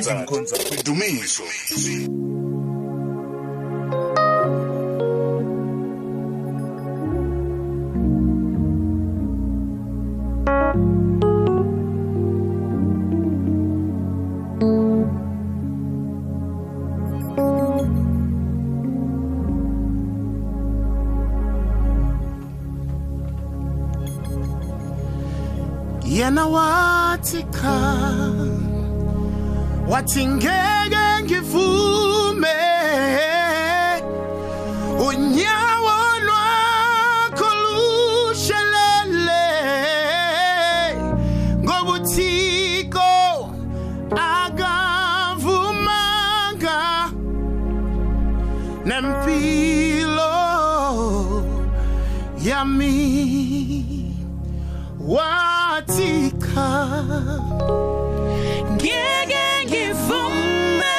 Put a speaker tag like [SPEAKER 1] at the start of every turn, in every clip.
[SPEAKER 1] Ivan Khonza Dumiso
[SPEAKER 2] yena wathi cha wathi ngeke ngivume unyawo lwakho lushelele ngoba uthiko akavumanga nempilo yami wathi cha
[SPEAKER 3] Ngeke ngivume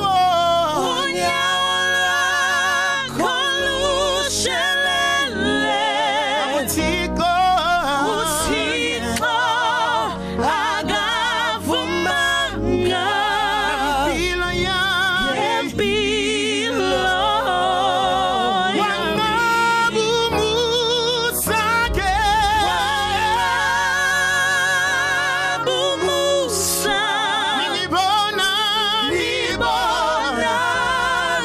[SPEAKER 3] unyawo lwakho lushelele. Uthixo akavumanga ngempilo yami. Bumusa ngibona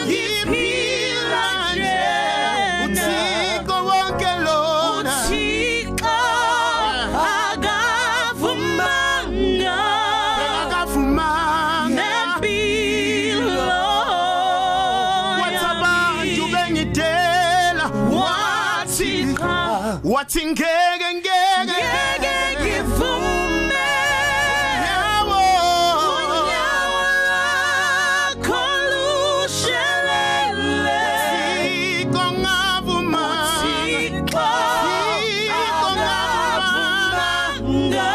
[SPEAKER 3] ngiphila nje. Uthixo akavumanga nempilo yami. Wathi
[SPEAKER 2] wathi
[SPEAKER 3] cha.
[SPEAKER 2] ngeke ngeke
[SPEAKER 3] Ngeke ngivume
[SPEAKER 2] yawo
[SPEAKER 3] unyawo lwakho lushelele.
[SPEAKER 2] ikongavuma
[SPEAKER 3] Thixo,
[SPEAKER 2] Thixo,
[SPEAKER 3] akavumanga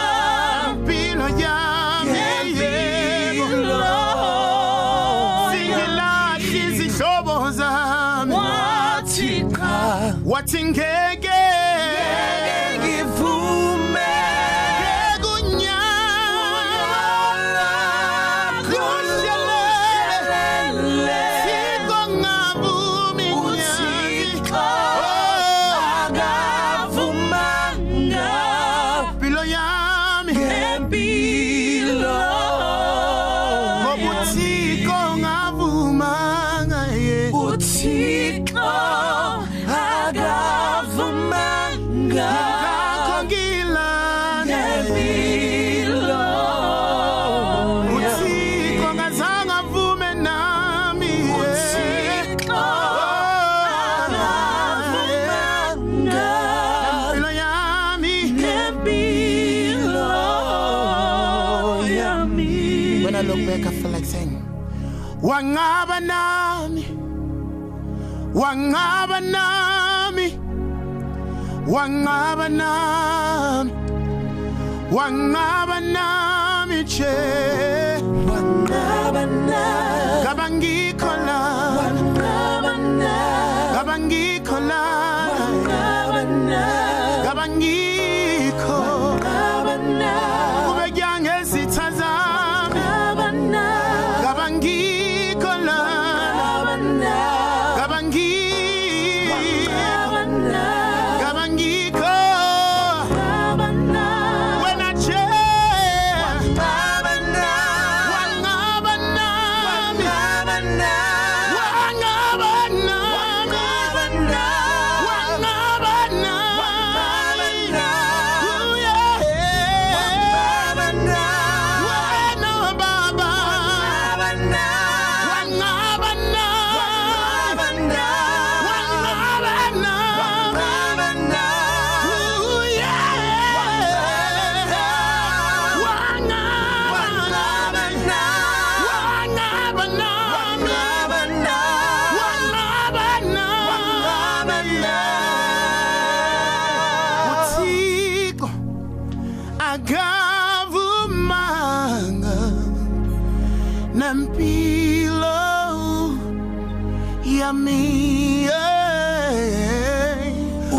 [SPEAKER 2] impilo yami
[SPEAKER 3] ngempilo yami.
[SPEAKER 2] singilahli izihlobo zami
[SPEAKER 3] Wathi cha,
[SPEAKER 2] wathi ngeke
[SPEAKER 3] ngeke ngivume
[SPEAKER 2] ekunyanga
[SPEAKER 3] lwakho lushelele.
[SPEAKER 2] ikongavumi Oh, impilo yami ngoba uthiko ngavumanga yeah. ngakho ngilana uthiko ngazange avume nami yeah. impilo yami when I look back, I feel like saying, Wangaba nami, Wangaba nami, Wangaba nami, Wangaba nami, che. Gabangi kola, Gabangi kola, Gabangi ko. Ubegyange sitazami, Gabangi kola, Gabangi, Gabangi ko. When I change. Wangaba nami,
[SPEAKER 3] Wangaba nami.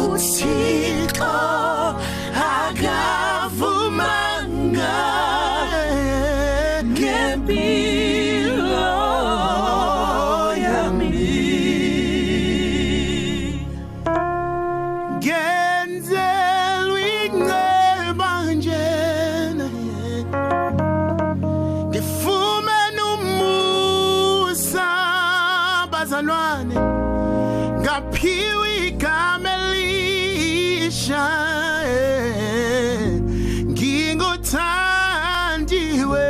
[SPEAKER 3] uThixo akavumanga ngempilo yami
[SPEAKER 2] Genzelwe inceba njena Ngifumene umusa bazalwane Ngaphiwe igama elisha eh. Nginguthandiwe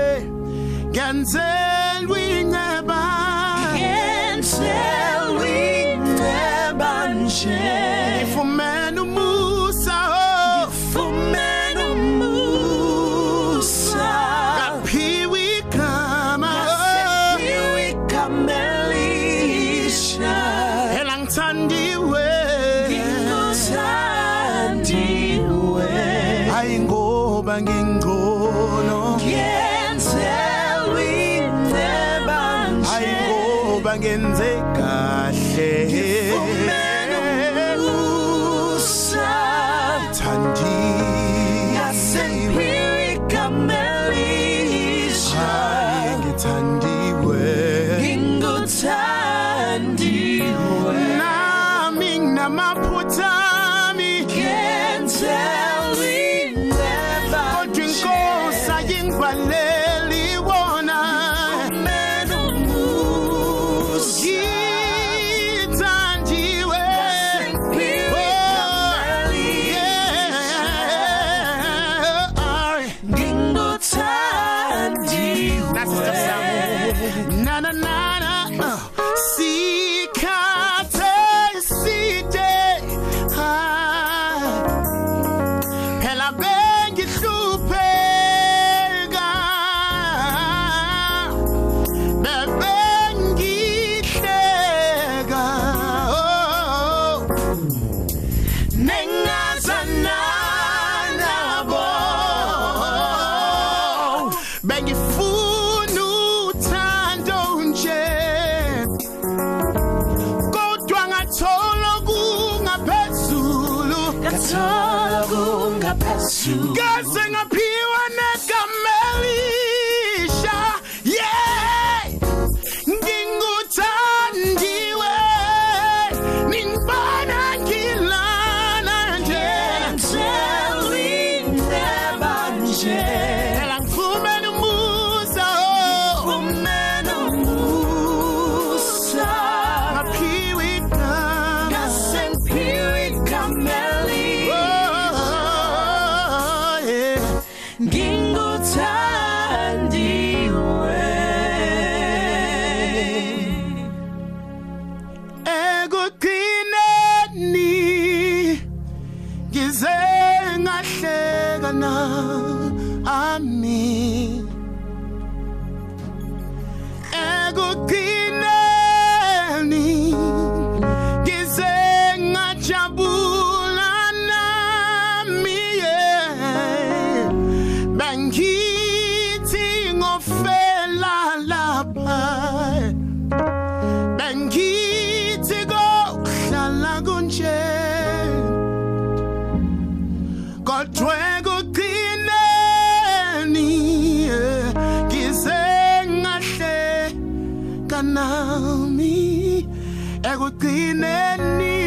[SPEAKER 2] Genzelwe inceba Ngifumene umusa oh. Ngaphiwe igama oh. Hela ngithandiwe Hayi ngoba ngingcono Hayi ngoba ngenze kahle Thandiwe Hayi ngithandiwe
[SPEAKER 3] Inguthandiwe
[SPEAKER 2] Nami nginamaphutha ami
[SPEAKER 3] Can't tell me never
[SPEAKER 2] Kodwa inkosi ayingivaleli wona
[SPEAKER 3] Man moves
[SPEAKER 2] Ngithandiwe Oh, Yeah. Ay. That's the sound. Na na na na. uh. Sikhathe side. Ah. Phela bengihlupheka. Bebengihleka. Oh. Nengazana nabo Bengifuna uthando nje Kodwa ngathola kungaphezulu Kaze ngaphiwa negamelisha Yeah Nginguthandiwe Ningibona ngilana nje Phela ngifumene umusa oh. Ngaphiwa igama. Oh, yeah.
[SPEAKER 3] Nginguthandiwe
[SPEAKER 2] ekugcineni ngize ngahleka na ami ekugcineni ngize ngajabula nami yeah. bengithi ngofela lapha bengithi kohlala kunje kodwa ekugcineni eh, ngize ngahle kanami ekugcineni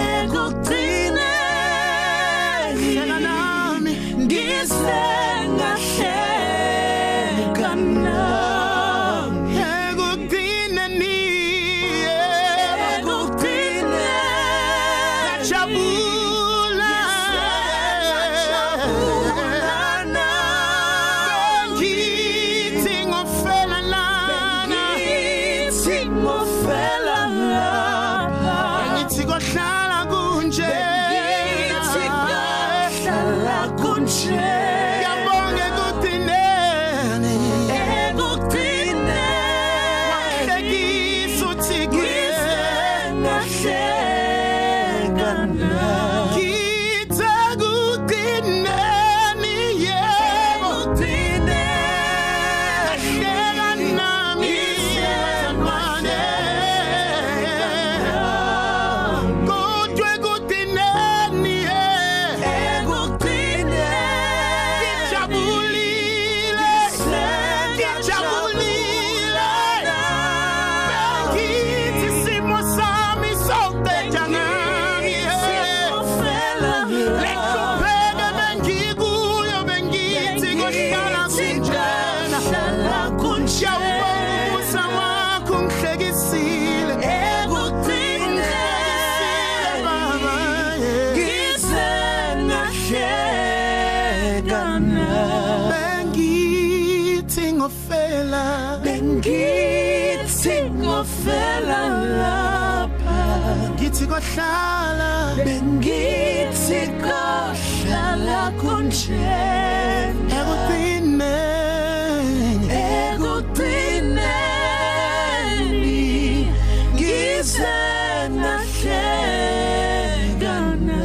[SPEAKER 3] ekugcineni
[SPEAKER 2] hleka nami
[SPEAKER 3] ngise ngahleka nami
[SPEAKER 2] ekugcineni eh,
[SPEAKER 3] ekugcineni
[SPEAKER 2] jabula Ngithi ngofela lana Ngithi kohlala kunje Ngiyabonga ekudineni Hlekisa uthikile Ngithe ekudineni yebo Hleka nami manje Kodwa ekudineni yebo eh. eh. ngofela
[SPEAKER 3] Bengithi ngofela lapha
[SPEAKER 2] ngithi kohlala
[SPEAKER 3] Bengithi kohlala konjena
[SPEAKER 2] ekugcine
[SPEAKER 3] Ekugcineni ngize nahleka na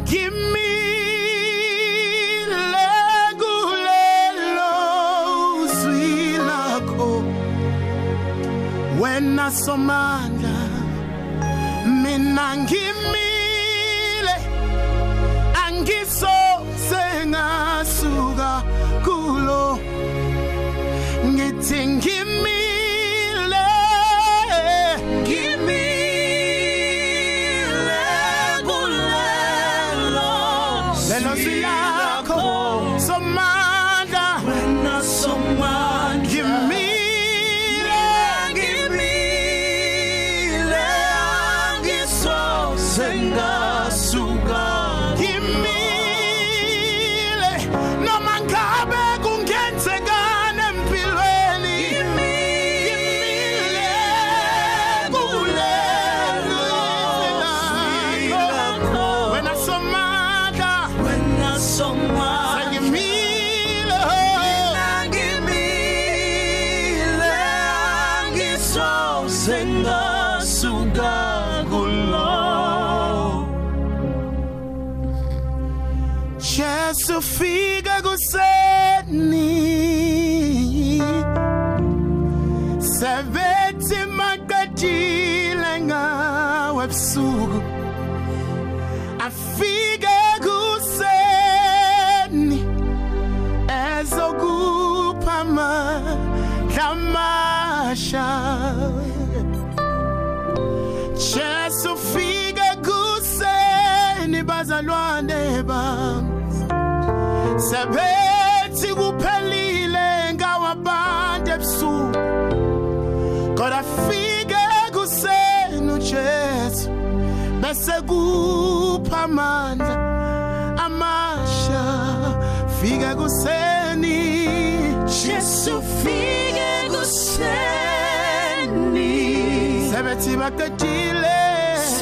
[SPEAKER 2] ngimile kulelo zwi lakho wena somandla mina ngimile angisoze ngasuka kulo ngithi ngimile ngimile lelo zwi lakho somandla ngimile ngimile noma ngabe kungenzekani empilweni ngimile
[SPEAKER 3] oh,
[SPEAKER 2] kulelo zwi
[SPEAKER 3] oh,
[SPEAKER 2] lakho. wena somandla ngimile
[SPEAKER 3] Sengasuka kulo
[SPEAKER 2] Jesu fika kuseni Sebethi maqedile ngawe ebusuku Afike kuseni ezokupha amandla amasha Jesu fika kuseni bazalwane bami sebethi kuphelile ngawabantu ebusuku kodwa fike kuseni ujesu bese kupha amandla amasha fike kuseni
[SPEAKER 3] Jesu fike kuseni
[SPEAKER 2] sebethi baqedile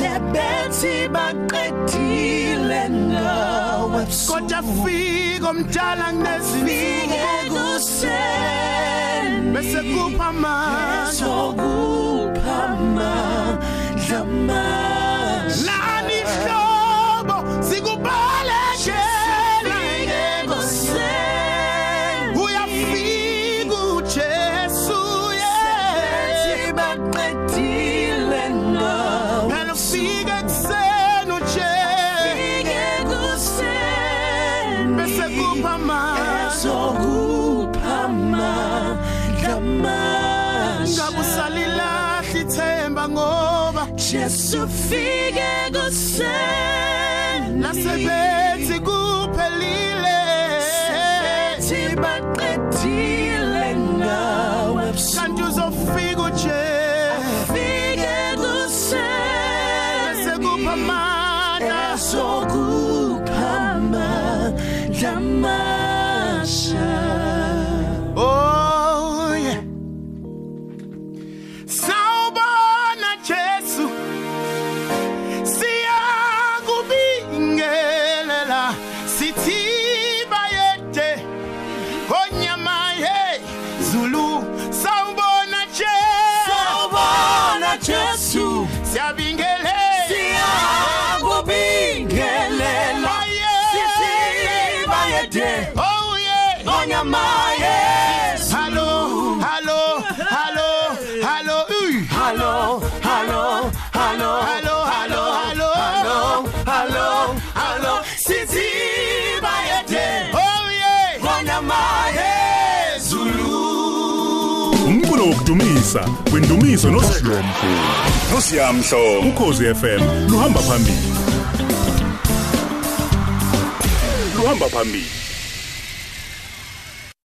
[SPEAKER 3] Sebethi baqedile nawe
[SPEAKER 2] kodwa fika omdala
[SPEAKER 3] fike
[SPEAKER 2] kunezinsuku
[SPEAKER 3] kuseni
[SPEAKER 2] bese kupha amandla
[SPEAKER 3] sokuphama dlamandla
[SPEAKER 2] lani hlobo sikubalekele
[SPEAKER 3] kuseni
[SPEAKER 2] uyafika ujesu
[SPEAKER 3] Sebethi
[SPEAKER 2] yeah.
[SPEAKER 3] baqedile nawe
[SPEAKER 2] phela ufika ekuseni uje
[SPEAKER 3] fike kuseni
[SPEAKER 2] bese kupha amandla
[SPEAKER 3] ezokuphama
[SPEAKER 2] ngabe
[SPEAKER 3] dlamandla
[SPEAKER 2] usalilahla ithemba ngoba
[SPEAKER 3] Jesu fike kuseni
[SPEAKER 2] lasebethi kuphelile
[SPEAKER 3] Sebethi baqedile ngawe
[SPEAKER 2] kanti uzofika ujesu
[SPEAKER 3] fike
[SPEAKER 2] bese
[SPEAKER 3] kuseni
[SPEAKER 2] kupha amandla
[SPEAKER 3] ezokuphama dlamandla
[SPEAKER 2] Oh yeah. Sawubona Jesu. Siyakubingelela sithi bayete. Onyama hey Zulu sawubona Jesu.
[SPEAKER 3] Sawubona Jesu.
[SPEAKER 2] Siyabingelela.
[SPEAKER 3] siyakubingelela
[SPEAKER 2] Sithi
[SPEAKER 3] sisibayede
[SPEAKER 2] Oh yeah.
[SPEAKER 3] onyamaye
[SPEAKER 2] Hello, hello, hello, hello. Uy.
[SPEAKER 3] halo halo halo
[SPEAKER 2] Hello, hello, hello.
[SPEAKER 3] halo halo halo sisibayede
[SPEAKER 2] Oh yeah.
[SPEAKER 3] onyamaye
[SPEAKER 4] umculo wokudumisa wendumiso nosiyomkhulu
[SPEAKER 1] nosiyamhlobo
[SPEAKER 4] ukhozi fm luhamba phambili luhamba phambili